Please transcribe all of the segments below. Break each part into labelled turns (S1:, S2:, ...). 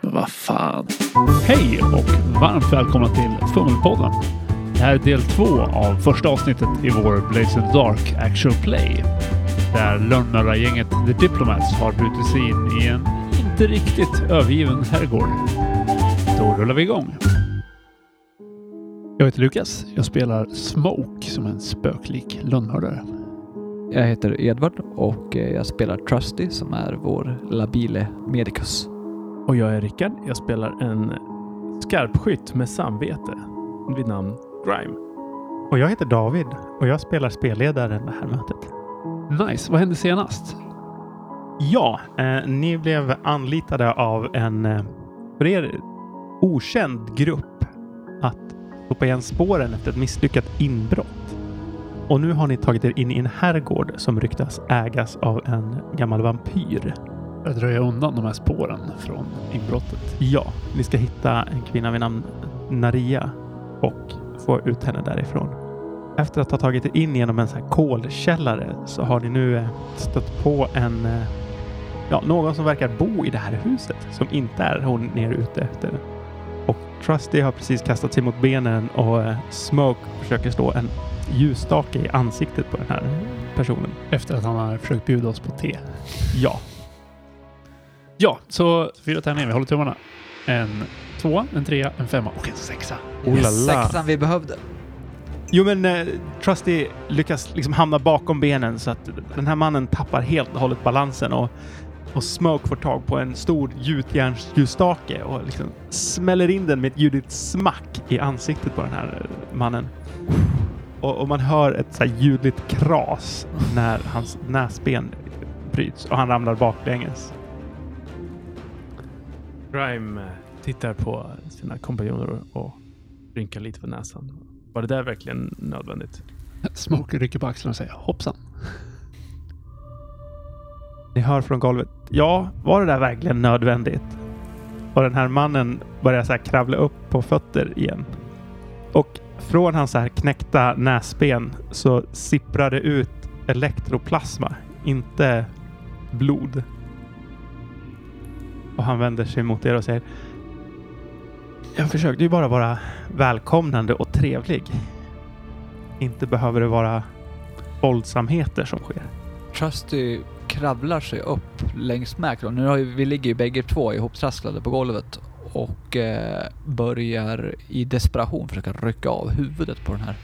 S1: vad fan.
S2: Hej och varmt välkomna till Fummelpodden. Det här är del två av första avsnittet i vår Blades in the Dark Actual Play. Där lönnmördargänget The Diplomats har brutit sig in i en inte riktigt övergiven herrgård. Då rullar vi igång. Jag heter Lukas. Jag spelar Smoke som en spöklik lönnmördare.
S3: Jag heter Edvard och eh, jag spelar Trusty som är vår labile medicus.
S4: Och jag är Rickard. Jag spelar en skarpskytt med samvete vid namn Grime.
S5: Och jag heter David och jag spelar spelledaren det här mötet.
S2: Nice. Vad hände senast?
S5: Ja, eh, ni blev anlitade av en eh, för er okänd grupp att stoppa igen spåren efter ett misslyckat inbrott. Och nu har ni tagit er in i en herrgård som ryktas ägas av en gammal vampyr.
S2: Jag dröjer undan de här spåren från inbrottet.
S5: Ja, ni ska hitta en kvinna vid namn Naria och få ut henne därifrån. Efter att ha tagit er in genom en sån här kolkällare så har ni nu eh, stött på en, eh, ja, någon som verkar bo i det här huset som inte är hon ni är ute efter. Och Trusty har precis kastat sig mot benen och eh, Smoke försöker slå en ljusstake i ansiktet på den här personen.
S2: Efter att han har försökt bjuda oss på te.
S5: Ja,
S2: Ja, så fyra tärningar. Vi håller tummarna. En tvåa, en trea, en femma och en sexa.
S5: oh la la.
S3: Sexan vi behövde.
S5: Jo, men eh, Trusty lyckas liksom hamna bakom benen så att den här mannen tappar helt och hållet balansen och, och Smoke får tag på en stor gjutjärnsljusstake och liksom smäller in den med ett ljudligt smack i ansiktet på den här eh, mannen. Och, och man hör ett så här ljudligt kras när hans näsben bryts och han ramlar baklänges.
S4: Grime tittar på sina kompanjoner och rynkar lite på näsan. Var det där verkligen nödvändigt?
S2: Smoke rycker på axlarna och säger hoppsan.
S5: Ni hör från golvet. Ja, var det där verkligen nödvändigt? Och den här mannen börjar så här kravla upp på fötter igen. Och från hans så här knäckta näsben så sipprar det ut elektroplasma, inte blod. Och han vänder sig mot er och säger Jag försökte ju bara vara välkomnande och trevlig. Inte behöver det vara våldsamheter som sker.
S3: Trusty kravlar sig upp längs med kronan. Nu har ju, vi ligger ju bägge två ihoptrasslade på golvet och eh, börjar i desperation försöka rycka av huvudet på den här.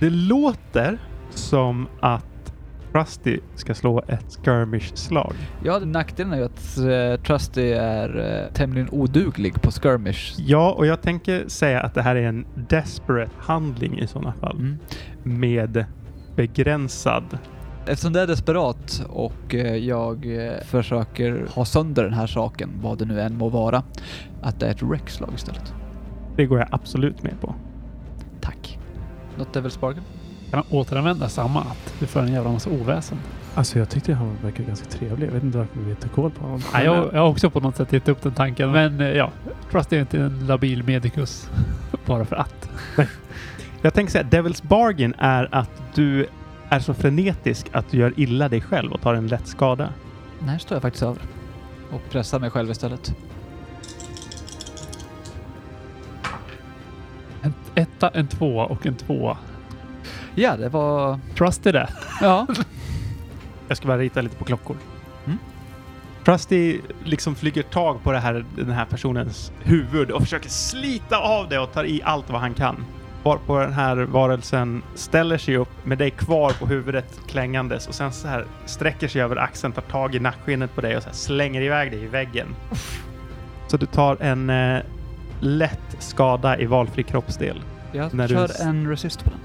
S5: Det låter som att Rusty ska slå ett skirmish-slag.
S3: Ja, nackdelen är ju att eh, Trusty är eh, tämligen oduglig på skirmish.
S5: Ja, och jag tänker säga att det här är en desperate handling i sådana fall.
S3: Mm.
S5: Med begränsad...
S3: Eftersom det är desperat och eh, jag eh, försöker ha sönder den här saken, vad det nu än må vara, att det är ett rexlag istället.
S5: Det går jag absolut med på.
S3: Tack. Något Devil Sparkle?
S2: Kan han återanvända samma att du för en jävla massa oväsen?
S4: Alltså jag tyckte han verkade ganska trevlig. Jag vet inte varför vi tog koll på honom.
S2: Nej, jag,
S5: eh,
S2: jag har också på något sätt gett upp den tanken. Men eh, ja, Trust är inte en labil medicus. Bara för att.
S5: Jag tänker säga att Devil's Bargain är att du är så frenetisk att du gör illa dig själv och tar en lätt skada.
S3: Den här står jag faktiskt över. Och pressar mig själv istället.
S2: En etta, en tvåa och en tvåa.
S3: Ja, det var...
S2: Trust är det.
S3: Ja.
S5: Jag ska bara rita lite på klockor.
S3: Mm.
S5: Trusty liksom flyger tag på det här, den här personens huvud och försöker slita av det och tar i allt vad han kan. Varpå den här varelsen ställer sig upp med dig kvar på huvudet klängandes och sen så här sträcker sig över axeln, tar tag i nackskinnet på dig och så här slänger iväg dig i väggen. Så du tar en eh, lätt skada i valfri kroppsdel.
S3: Jag
S5: När du-
S3: kör en resist på den.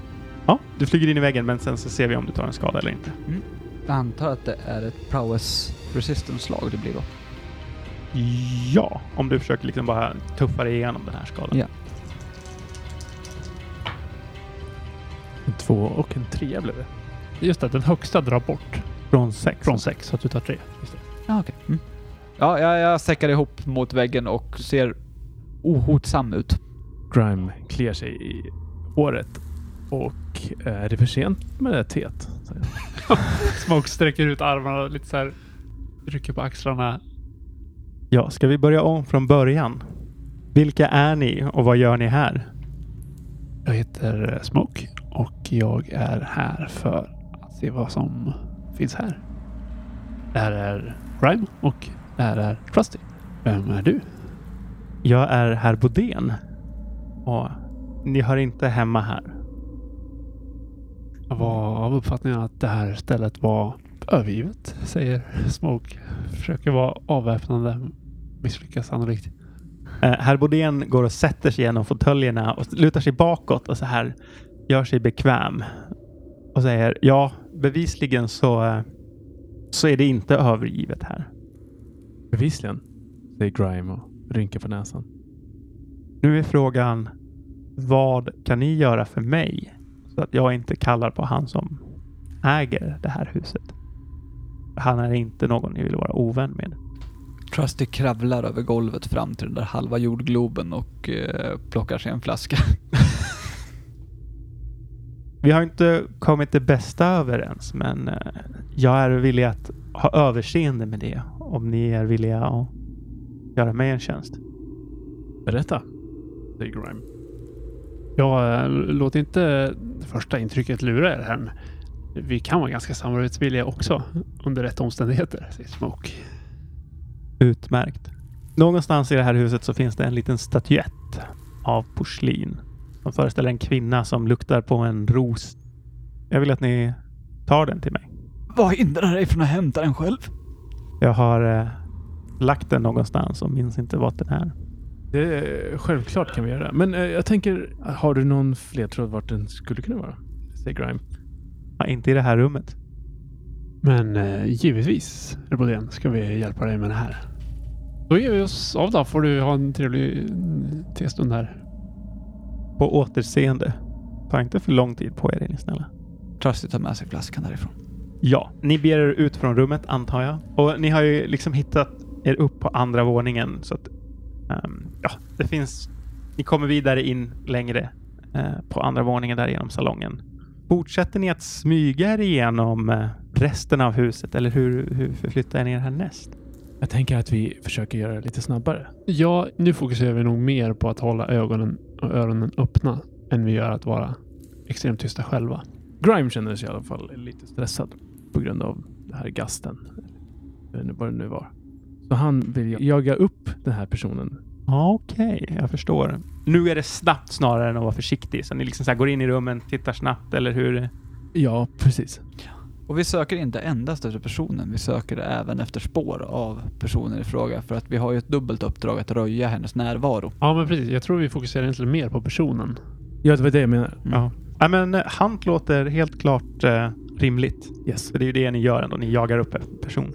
S5: Ja, du flyger in i väggen men sen så ser vi om du tar en skada eller inte.
S3: Mm. Jag antar att det är ett prowess resistance-slag det blir då.
S5: Ja, om du försöker liksom bara tuffa dig igenom den här skadan.
S3: Ja.
S4: En två och en trea blev det.
S2: Just det, den högsta drar bort
S5: Från sex.
S2: från sex så att du tar tre. Just det.
S3: Ja, okej. Mm. Ja, jag, jag säckar ihop mot väggen och ser ohotsam ut.
S4: Grime kliar sig i håret. Och eh, är det för sent med det här teet? säger jag.
S2: Smoke sträcker ut armarna och lite så här. Rycker på axlarna.
S5: Ja, ska vi börja om från början? Vilka är ni och vad gör ni här?
S2: Jag heter eh, Smoke och jag är här för att se vad som finns här. Det här är Grime och det här är Trusty. Vem är du?
S5: Jag är herr Bodén. Och ni hör inte hemma här.
S2: Jag var av uppfattningen att det här stället var övergivet, säger Smoke. Försöker vara avväpnande. Misslyckas sannolikt.
S5: Eh, Herr Bodén går och sätter sig genom fåtöljerna och lutar sig bakåt och så här gör sig bekväm. Och säger ja, bevisligen så, eh, så är det inte övergivet här.
S4: Bevisligen, säger Grime och rynkar på näsan.
S5: Nu är frågan, vad kan ni göra för mig? Så att jag inte kallar på han som äger det här huset. Han är inte någon ni vill vara ovän med.
S3: Trusty kravlar över golvet fram till den där halva jordgloben och eh, plockar sig en flaska.
S5: Vi har inte kommit det bästa överens, men eh, jag är villig att ha överseende med det om ni är villiga att göra mig en tjänst.
S4: Berätta, säger Grime.
S2: Ja, eh, låt inte det första intrycket lura er här. Vi kan vara ganska samarbetsvilliga också under rätt omständigheter, säger Smoke.
S5: Utmärkt. Någonstans i det här huset så finns det en liten statyett av porslin som föreställer en kvinna som luktar på en ros. Jag vill att ni tar den till mig.
S3: Vad hindrar dig från att hämta den själv?
S5: Jag har eh, lagt den någonstans och minns inte vart den är.
S4: Det, självklart kan vi göra det. Men eh, jag tänker, har du någon ledtråd vart den skulle kunna vara? Säger Grime.
S5: Ja, inte i det här rummet.
S2: Men eh, givetvis, Rebodén, ska vi hjälpa dig med det här. Då ger vi oss av då. Får du ha en trevlig mm, testund här.
S5: På återseende. Ta inte för lång tid på er, är ni snälla.
S3: Trusty tar med sig flaskan därifrån.
S5: Ja, ni beger er ut från rummet antar jag. Och ni har ju liksom hittat er upp på andra våningen så att ehm, ja, det finns. Ni kommer vidare in längre eh, på andra våningen där genom salongen. Fortsätter ni att smyga er igenom eh, resten av huset eller hur, hur förflyttar ni er härnäst?
S4: Jag tänker att vi försöker göra det lite snabbare.
S2: Ja, nu fokuserar vi nog mer på att hålla ögonen och öronen öppna än vi gör att vara extremt tysta själva.
S4: Grime känner sig i alla fall lite stressad på grund av det här gasten. Eller vad det nu var. Så han vill jaga upp den här personen.
S5: Ja, Okej, jag förstår. Nu är det snabbt snarare än att vara försiktig. Så ni liksom så här går in i rummen, tittar snabbt eller hur?
S4: Ja, precis.
S3: Och vi söker inte endast efter personen, vi söker även efter spår av personen i fråga. För att vi har ju ett dubbelt uppdrag att röja hennes närvaro.
S2: Ja, men precis. Jag tror vi fokuserar egentligen mer på personen.
S4: Ja, det var det jag menade.
S5: Ja. ja men eh, Hunt låter helt klart eh, rimligt.
S4: Yes.
S5: För Alltså, det är ju det ni gör ändå. Ni jagar upp en person.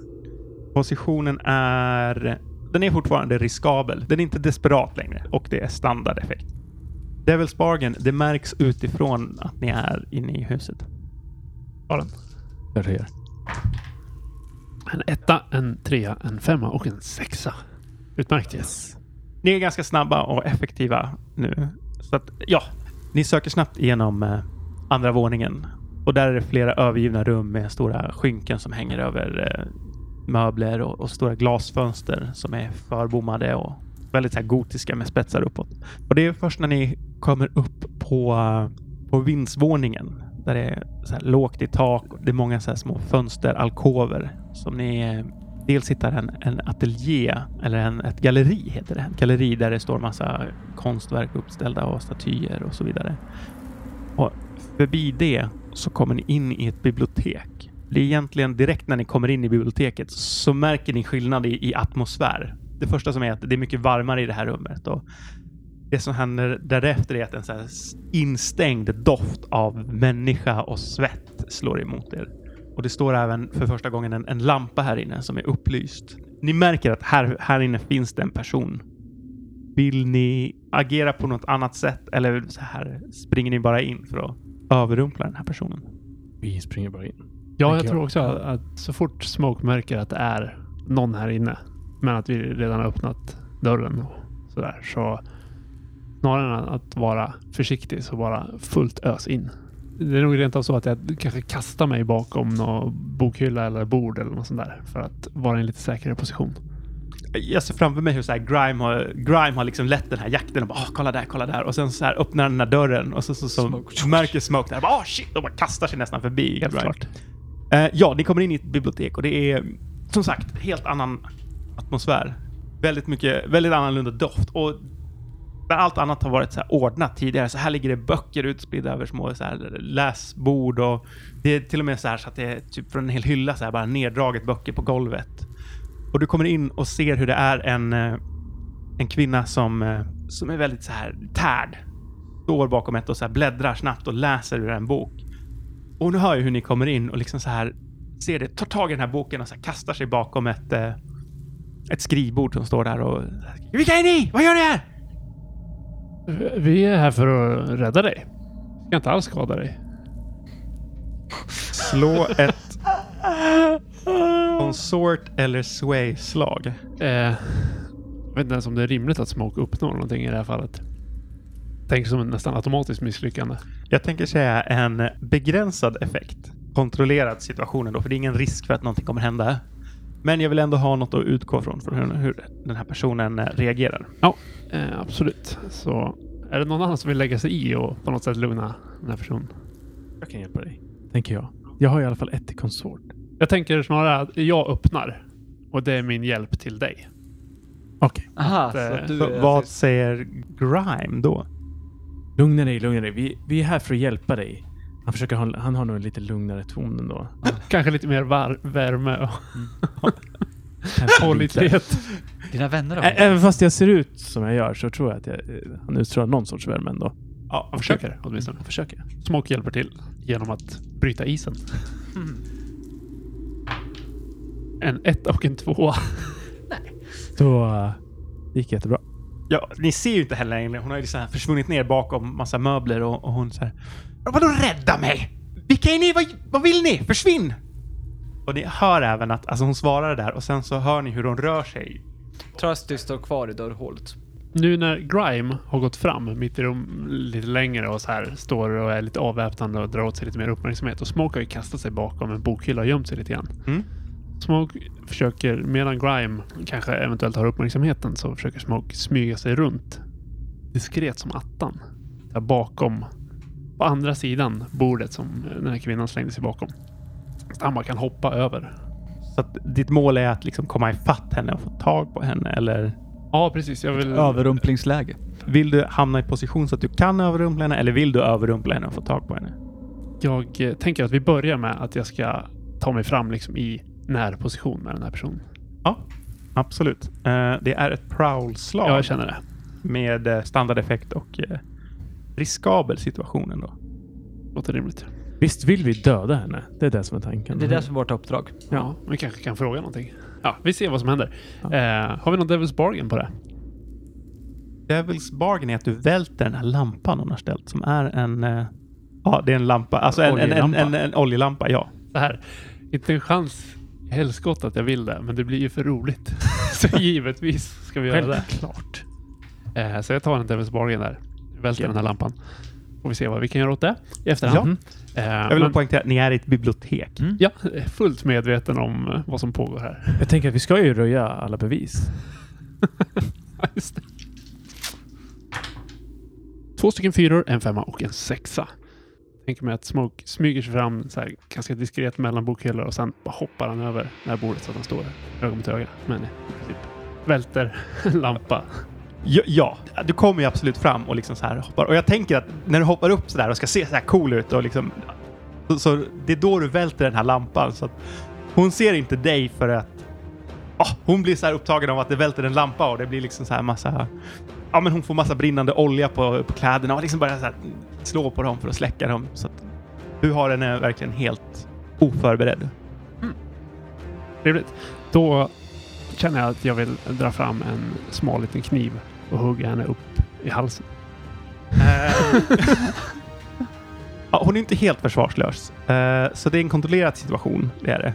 S5: Positionen är... Den är fortfarande riskabel. Den är inte desperat längre och det är standardeffekt. Devil's Bargain, det märks utifrån att ni är inne i huset.
S4: Där det gör.
S2: En etta, en trea, en femma och en sexa. Utmärkt. Yes.
S5: Ni är ganska snabba och effektiva nu. Så att, ja, ni söker snabbt igenom eh, andra våningen. Och där är det flera övergivna rum med stora skynken som hänger över eh, möbler och, och stora glasfönster som är förbommade och väldigt så här, gotiska med spetsar uppåt. Och det är först när ni kommer upp på, eh, på vindsvåningen där det är så här lågt i tak. och Det är många så här små fönster, alkover som ni eh, Dels hittar en, en ateljé, eller en, ett galleri heter det. Ett galleri där det står massa konstverk uppställda och statyer och så vidare. Och förbi det så kommer ni in i ett bibliotek. Det är egentligen direkt när ni kommer in i biblioteket så märker ni skillnad i, i atmosfär. Det första som är att det är mycket varmare i det här rummet. Och det som händer därefter är att en så här instängd doft av människa och svett slår emot er. Och det står även för första gången en, en lampa här inne som är upplyst. Ni märker att här, här inne finns det en person. Vill ni agera på något annat sätt eller så här springer ni bara in för att överrumpla den här personen?
S4: Vi springer bara in.
S2: Ja, jag
S4: Tänker
S2: tror
S4: jag.
S2: också att så fort Smoke märker att det är någon här inne, men att vi redan har öppnat dörren och sådär, så snarare än att vara försiktig så bara fullt ös in. Det är nog rent av så att jag kanske kastar mig bakom någon bokhylla eller bord eller något sånt där för att vara i en lite säkrare position.
S5: jag ser framför mig hur så här Grime, har, Grime har liksom lett den här jakten och bara "Ah, kolla där, kolla där och sen så här öppnar han den här dörren och så, så, så
S3: Smoke.
S5: märker Smoke där. Bara, "Ah, shit! De bara kastar sig nästan förbi
S2: Helt
S5: Grime.
S2: klart.
S5: Eh, ja, ni kommer in i ett bibliotek och det är som sagt helt annan atmosfär. Väldigt mycket, väldigt annorlunda doft och där allt annat har varit så här ordnat tidigare. Så här ligger det böcker utspridda över små så här läsbord och det är till och med så här så att det är typ från en hel hylla så här bara neddraget böcker på golvet. Och du kommer in och ser hur det är en, eh, en kvinna som, eh, som är väldigt så här tärd. Står bakom ett och så här bläddrar snabbt och läser ur en bok. Och nu hör jag hur ni kommer in och liksom så här ser det, tar tag i den här boken och så här kastar sig bakom ett, eh, ett skrivbord som står där och... Vilka är ni? Vad gör ni här?
S2: Vi är här för att rädda dig. Vi ska inte alls skada dig.
S5: Slå ett konsort eller sway-slag.
S2: Eh, jag vet inte ens om det är rimligt att Smoke uppnår någonting i det här fallet. Tänk som en nästan automatiskt misslyckande.
S5: Jag tänker säga en begränsad effekt. Kontrollerad situationen då, för det är ingen risk för att någonting kommer hända. Men jag vill ändå ha något att utgå från, från hur, hur den här personen eh, reagerar.
S2: Eh, absolut. Så är det någon annan som vill lägga sig i och på något sätt lugna den här personen?
S4: Jag kan hjälpa dig. Tänker jag. Jag har i alla fall ett till konsort.
S2: Jag tänker snarare att jag öppnar och det är min hjälp till dig.
S4: Okej.
S3: Aha,
S2: Att,
S3: så
S2: eh,
S3: att du
S5: Så
S3: är
S5: vad
S3: sist.
S5: säger Grime då?
S4: Lugna dig, lugna dig. Vi, vi är här för att hjälpa dig. Han, försöker ha, han har nog en lite lugnare ton ändå.
S2: Kanske lite mer var- värme och
S4: Kanske lite-
S2: pålitlighet.
S3: Dina vänner då?
S4: Ä- Även fast jag ser ut som jag gör så tror jag att jag, eh, han utstrålar någon sorts värme ändå.
S5: Ja,
S2: Jag försöker åtminstone.
S4: Jag försöker.
S2: Smoke hjälper till genom att bryta isen. En ett och en tvåa.
S4: Då eh, det gick jättebra.
S5: Ja, ni ser ju inte heller längre. Hon har ju liksom försvunnit ner bakom massa möbler och, och hon så här. Vadå rädda mig? Vilka är ni? Vad, vad vill ni? Försvinn! Och ni hör även att alltså hon svarar det där och sen så hör ni hur hon rör sig.
S3: Trusty står kvar i dörrhålet.
S2: Nu när Grime har gått fram mitt i rum lite längre och så här står och är lite avväpnande och drar åt sig lite mer uppmärksamhet. Och Smoke har ju kastat sig bakom en bokhylla och gömt sig lite grann.
S5: Mm.
S2: Smoke försöker, medan Grime kanske eventuellt har uppmärksamheten, så försöker Smoke smyga sig runt. Diskret som attan. Där bakom, på andra sidan bordet som den här kvinnan slängde sig bakom. Så han bara kan hoppa över.
S5: Så att ditt mål är att liksom komma ifatt henne och få tag på henne eller
S2: Ja, precis. Jag vill...
S3: Överrumplingsläge.
S5: vill du hamna i position så att du kan överrumpla henne eller vill du överrumpla henne och få tag på henne?
S2: Jag eh, tänker att vi börjar med att jag ska ta mig fram liksom i närposition med den här personen.
S5: Ja, absolut. Eh, det är ett prowl-slag
S2: Ja, jag känner det.
S5: med eh, standardeffekt och eh, riskabel situation ändå.
S2: Låter rimligt.
S4: Visst vill vi döda henne? Det är det som är tanken.
S3: Det är det som är vårt uppdrag.
S2: Ja, vi kanske kan fråga någonting. Ja, vi ser vad som händer.
S4: Ja.
S2: Eh, har vi någon Devil's Bargain på det?
S5: Devil's Bargain är att du välter den här lampan hon har ställt som är en... eh, Ja, det är en lampa. Alltså en, en, en,
S2: Oljelampa.
S5: en, en oljelampa, ja.
S2: Så här. Inte en chans i helskott att jag vill det, men det blir ju för roligt. så givetvis ska vi göra det.
S4: Självklart.
S2: Eh, så jag tar en Devil's Bargain där. Välter den här lampan. Får vi se vad vi kan göra åt det i
S5: Ja.
S2: efterhand. Ja. Eh,
S5: Jag vill
S2: men,
S5: men... poängtera att ni är i ett bibliotek.
S2: ja, eh, fullt medveten om eh, vad som pågår här.
S4: Jag tänker att vi ska ju röja alla bevis.
S2: Just det. Två stycken fyror, en femma och en sexa. Tänker mig att Smoke smyger sig fram så här, ganska diskret mellan bokhyllor och sen bara hoppar han över det här bordet så att han står öga mot öga. Men typ välter en lampa.
S5: Ja, ja, du kommer ju absolut fram och liksom så här hoppar. Och jag tänker att när du hoppar upp så där och ska se så här cool ut och liksom... Så, så det är då du välter den här lampan. Så att hon ser inte dig för att... ah, hon blir så här upptagen av att det välter en lampa och det blir liksom så här massa... Ja, men hon får massa brinnande olja på, på kläderna och liksom börjar så här slå på dem för att släcka dem. Så att du har henne verkligen helt oförberedd.
S2: Trevligt. Då känner jag att jag vill dra fram en smal liten kniv och hugga henne upp i halsen.
S5: Eh, ja, hon är inte helt försvarslös. Eh, så det är en kontrollerad situation, det är det.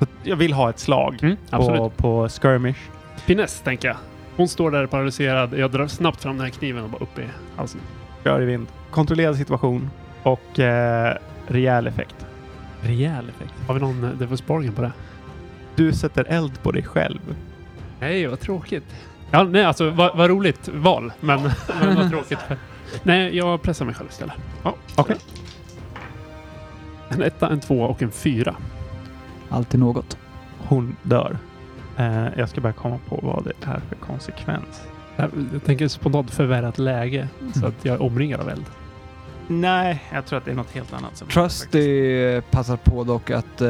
S5: Så jag vill ha ett slag
S2: Mm, absolut.
S5: på, på skirmish.
S2: Finess, tänker jag. Hon står där paralyserad. Jag drar snabbt fram den här kniven och bara upp i halsen.
S5: Rör i vind. Kontrollerad situation och eh, rejäl effekt.
S4: Rejäl effekt.
S2: Har vi någon eh, Devil's Bargain på det?
S5: Du sätter eld på dig själv.
S2: Nej, vad tråkigt. Ja, nej, alltså vad, vad roligt val, men, men vad tråkigt. Nej, jag pressar mig själv istället. Ja,
S5: Okej.
S2: En etta, en tvåa och en fyra.
S3: Alltid något.
S5: Hon dör. Eh, jag ska bara komma på vad det är för konsekvens.
S2: Jag, jag tänker spontant förvärrat läge, så att jag är omringad av eld.
S5: Nej, jag tror att det är något helt annat. Som
S3: Trusty passar på dock att eh,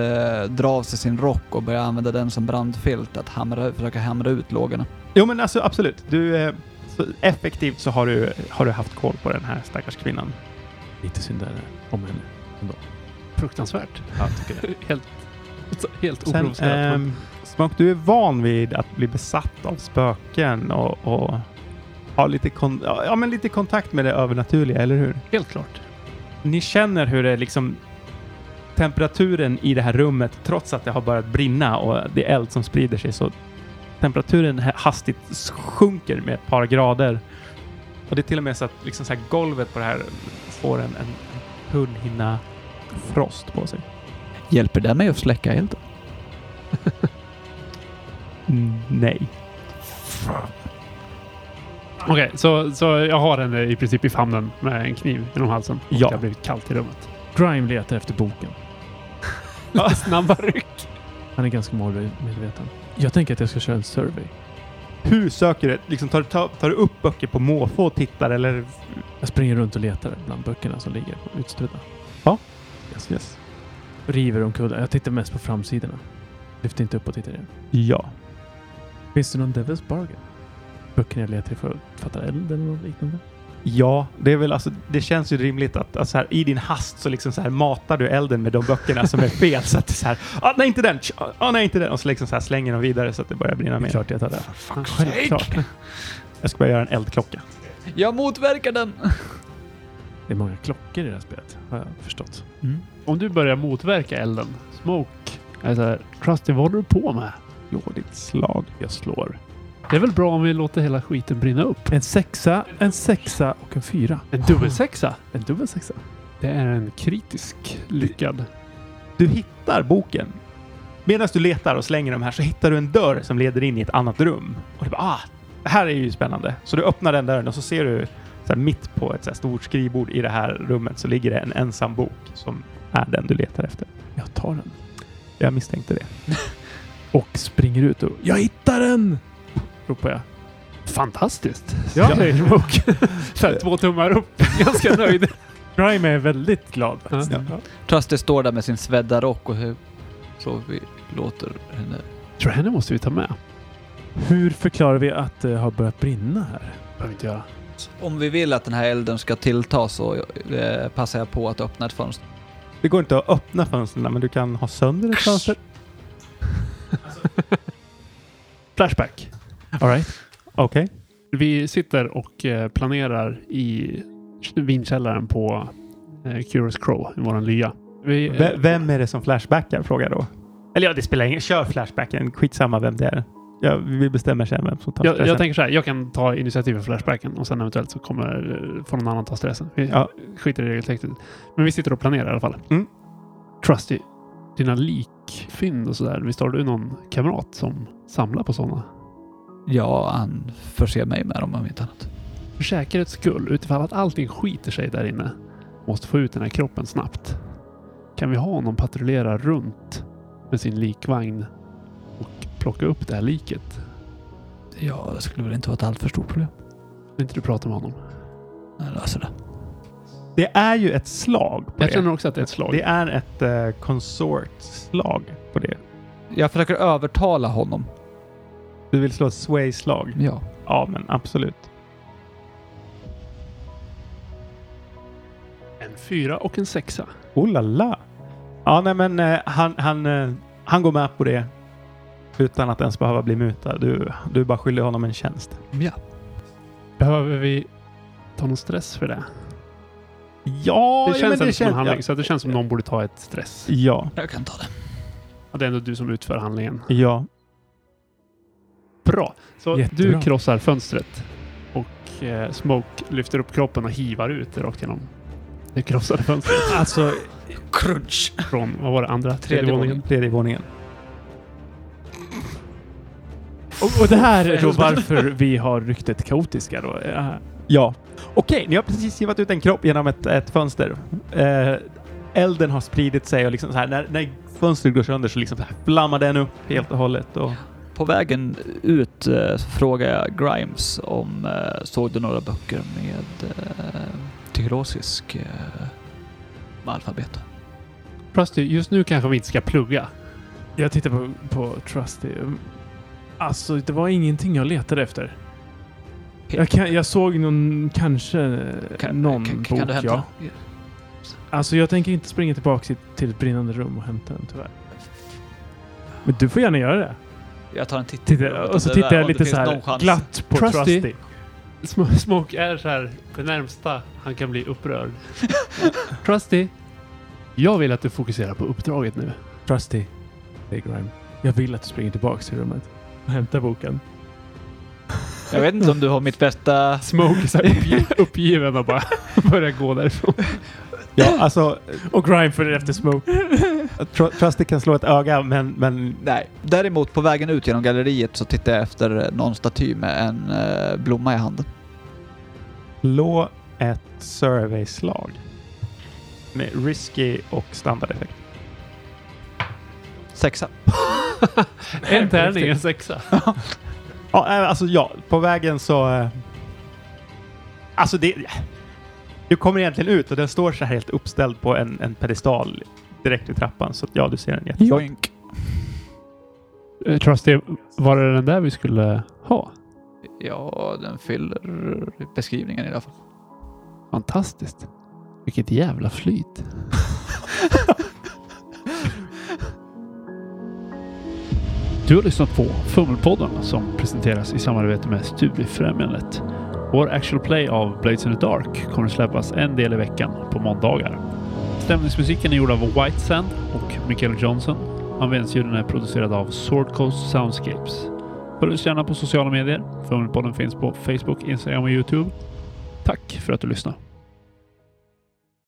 S3: dra av sig sin rock och börja använda den som brandfilt att hamra, försöka hamra ut lågorna.
S5: Jo men alltså absolut. Du, eh, så effektivt så har du, har du haft koll på den här stackars kvinnan.
S4: Lite syndare om henne.
S2: Fruktansvärt.
S5: Ja, tycker det.
S2: Helt, helt
S5: Sen,
S2: oprovocerat. men-
S5: ehm, Smoke, du är van vid att bli besatt av spöken och, och ha lite, kon- ja, men lite kontakt med det övernaturliga, eller hur?
S2: helt klart.
S5: Ni känner hur det liksom temperaturen i det här rummet, trots att det har börjat brinna och det är eld som sprider sig, så temperaturen ha- hastigt sjunker med ett par grader. Och det är till och med så att liksom så här golvet på det här får en, en en tunn hinna frost på sig.
S3: Hjälper det mig att släcka elden?
S5: Mm, nej.
S2: Okej, så, så jag har henne i princip i famnen med en kniv genom halsen. Och
S5: Ja.
S2: Det har blivit kallt i rummet.
S4: Grime letar efter boken.
S2: Snabba ryck.
S4: Han är ganska målmedveten. Jag tänker att jag ska köra en survey.
S5: Hur söker du? Liksom tar, tar, tar du upp böcker på måfå och tittar eller?
S4: Jag springer runt och letar bland böckerna som ligger utströdda.
S5: Yes, yes.
S4: River omkull. Jag tittar mest på framsidorna. Lyfter inte upp och tittar ner.
S5: Ja.
S4: Finns det någon Devil's Bargain? Böckerna jag letar i för att fatta eld eller något liknande?
S5: Ja, det är väl alltså, det känns ju rimligt att alltså här, i din hast så liksom så här matar du elden med de böckerna som är fel så att det är så här, ah, nej inte den, Tsch, ah, nej inte den och så liksom så här slänger de vidare så att det börjar brinna
S4: Det är
S5: mer.
S4: klart jag tar det.
S5: Självklart. Jag ska börja göra en eldklocka.
S3: Jag motverkar den!
S4: Det är många klockor i det här spelet, har jag förstått.
S3: Mm.
S2: Om du börjar motverka elden, Smoke, alltså, Trusty, vad håller du på med?
S5: Jo, ditt slag.
S4: Jag slår.
S2: Det är väl bra om vi låter hela skiten brinna upp?
S4: En sexa, en sexa och en fyra.
S2: En dubbelsexa?
S4: En dubbel sexa.
S2: Det är en kritisk lyckad.
S5: Du hittar boken. Medan du letar och slänger de här så hittar du en dörr som leder in i ett annat rum. Och du bara, ah, det här är ju spännande. Så du öppnar den dörren och så ser du så här, mitt på ett så här, stort skrivbord i det här rummet så ligger det en ensam bok som är den du letar efter.
S4: Jag tar den.
S5: Jag misstänkte det.
S4: Och springer ut och... Jag hittar den! Ropar jag.
S2: Fantastiskt! Ja, säger Smoke. Så här, Två tummar upp. Ganska nöjd.
S4: Grime är väldigt glad. faktiskt.
S5: Ja.
S3: Trusty står där med sin svedda rock och hur så vi låter henne...
S2: Tror henne måste vi ta med.
S4: Hur förklarar vi att det har börjat brinna här?
S2: Behöver inte göra.
S3: Om vi vill att den här elden ska tillta så eh, passar jag på att öppna ett fönster.
S5: Det går inte att öppna fönstren, men du kan ha sönder ett fönster.
S2: Flashback.
S4: All right.
S5: Okej.
S2: Vi sitter och eh, planerar i vinkällaren på eh, Curious Crow, i våran lya. Vi, eh,
S5: V- Vem är det som flashbackar? Frågar då. Eller ja, det spelar ingen Kör flashbacken. Skitsamma vem det är. Ja, vi bestämmer sen vem som tar
S2: jag,
S5: stressen.
S2: jag tänker så här, jag kan ta initiativ för Flashbacken och sen eventuellt så kommer eh, får någon annan ta stressen. Vi eh,
S5: Ja.
S2: skiter i regeltexten. Men vi sitter och planerar i alla fall.
S5: Mm.
S2: Trusty, dina likfynd och sådär. Visst har du någon kamrat som samlar på sådana?
S3: Ja, han förser mig med dem om inte annat.
S2: För säkerhets skull, utifall att allting skiter sig där inne, måste få ut den här kroppen snabbt. Kan vi ha någon patrullera runt med sin likvagn och plocka upp det här liket?
S3: Ja, det skulle väl inte vara ett alltför stort problem.
S2: Vill inte du prata med honom?
S3: Jag löser det.
S5: Det är ju ett slag på
S2: Jag
S5: det.
S2: känner också att det är ett slag.
S5: Det är ett uh, konsortslag på det.
S3: Jag försöker övertala honom.
S5: Du vill slå ett sway-slag?
S3: Ja.
S5: Ja, men absolut.
S2: En fyra och en sexa.
S5: Oh la la. Ja, nej men eh, han, han, eh, han går med på det. Utan att ens behöva bli mutad. Du, du bara skyller honom en tjänst.
S3: Ja.
S2: Behöver vi ta någon stress för det?
S5: Ja,
S2: det
S5: ja, men
S2: känns inte som en handling,
S5: ja.
S2: så att det känns som någon borde ta ett stress.
S5: ja,
S3: Jag kan ta det.
S2: Och det är ändå du som utför handlingen.
S5: ja.
S2: Bra! Så
S4: Jättebra.
S2: du krossar fönstret och eh, Smoke lyfter upp kroppen och hivar ut det rakt genom det krossade fönstret
S4: Alltså,
S3: Crunch!
S2: från, vad var det, andra? Tredje,
S3: Tredje
S2: våningen.
S5: Tredje våningen.
S2: Oh,
S4: Och, och det här är då varför vi har ryktet kaotiska då. Eh,
S5: Ja. Okej, ni har precis givat ut en kropp genom ett, ett fönster. Eh, elden har spridit sig och liksom så här, när, när fönstret går sönder så liksom så här flammar den upp helt och hållet. Och,
S3: På vägen ut eh, så frågade jag Grimes om eh, såg du några böcker med eh, tyglosisk eh, alfabet?
S4: Eh,
S2: Trusty, just nu kanske vi inte ska plugga.
S4: Jag tittar på, på Trusty. Mm. Alltså, det var ingenting jag letade efter. Jag, kan, jag såg någon, kanske någon bok,
S3: du hämta
S4: ja.
S3: den?
S4: Alltså, jag tänker inte springa tillbaka till, till ett brinnande rum och hämta den tyvärr. Men du får gärna göra det.
S3: Jag tar en titt.
S4: Titta, och så tittar jag lite så här glatt på
S2: Trusty.
S4: Trusty.
S2: Sm- Smoke är så här det närmsta han kan bli upprörd. Trusty, jag vill att du fokuserar på uppdraget nu.
S4: Trusty, säger Grime. Jag vill att du springer tillbaka till rummet och hämtar boken.
S3: Jag vet inte om du har mitt bästa...
S2: Smoke är så här uppgi- uppgiven och bara börjar gå därifrån.
S5: ja, alltså,
S4: Och Grime följer efter Smoke.
S5: tr- Trusty kan slå ett öga, men, men
S3: Nej. Däremot på vägen ut genom galleriet så tittar jag efter någon staty med en eh, blomma i handen.
S5: slå ett survey-slag. Med risky och standardeffekt.
S3: Sexa.
S2: En tärning, en sexa.
S5: Ja, eh, alltså ja, på vägen så... eh, Alltså det... Du kommer egentligen ut och den står så här helt uppställd på en, en pedestal direkt vid trappan. Så att, ja, du ser den jätte...
S3: Joink.
S2: Eh, Trusty, var det den där vi skulle ha?
S3: Ja, den fyller beskrivningen i alla fall.
S2: Fantastiskt. Vilket jävla flyt. Du har lyssnat på Fummelpodden som presenteras i samarbete med Studiefrämjandet. Vår actual play av Blades in the Dark kommer släppas en del i veckan på måndagar. Stämningsmusiken är gjord av White Sand och Michael Johnson. Användningsljuden är producerad av Sword Coast Soundscapes. Följ oss gärna på sociala medier. Fummelpodden finns på Facebook, Instagram och Youtube. Tack för att du lyssnade.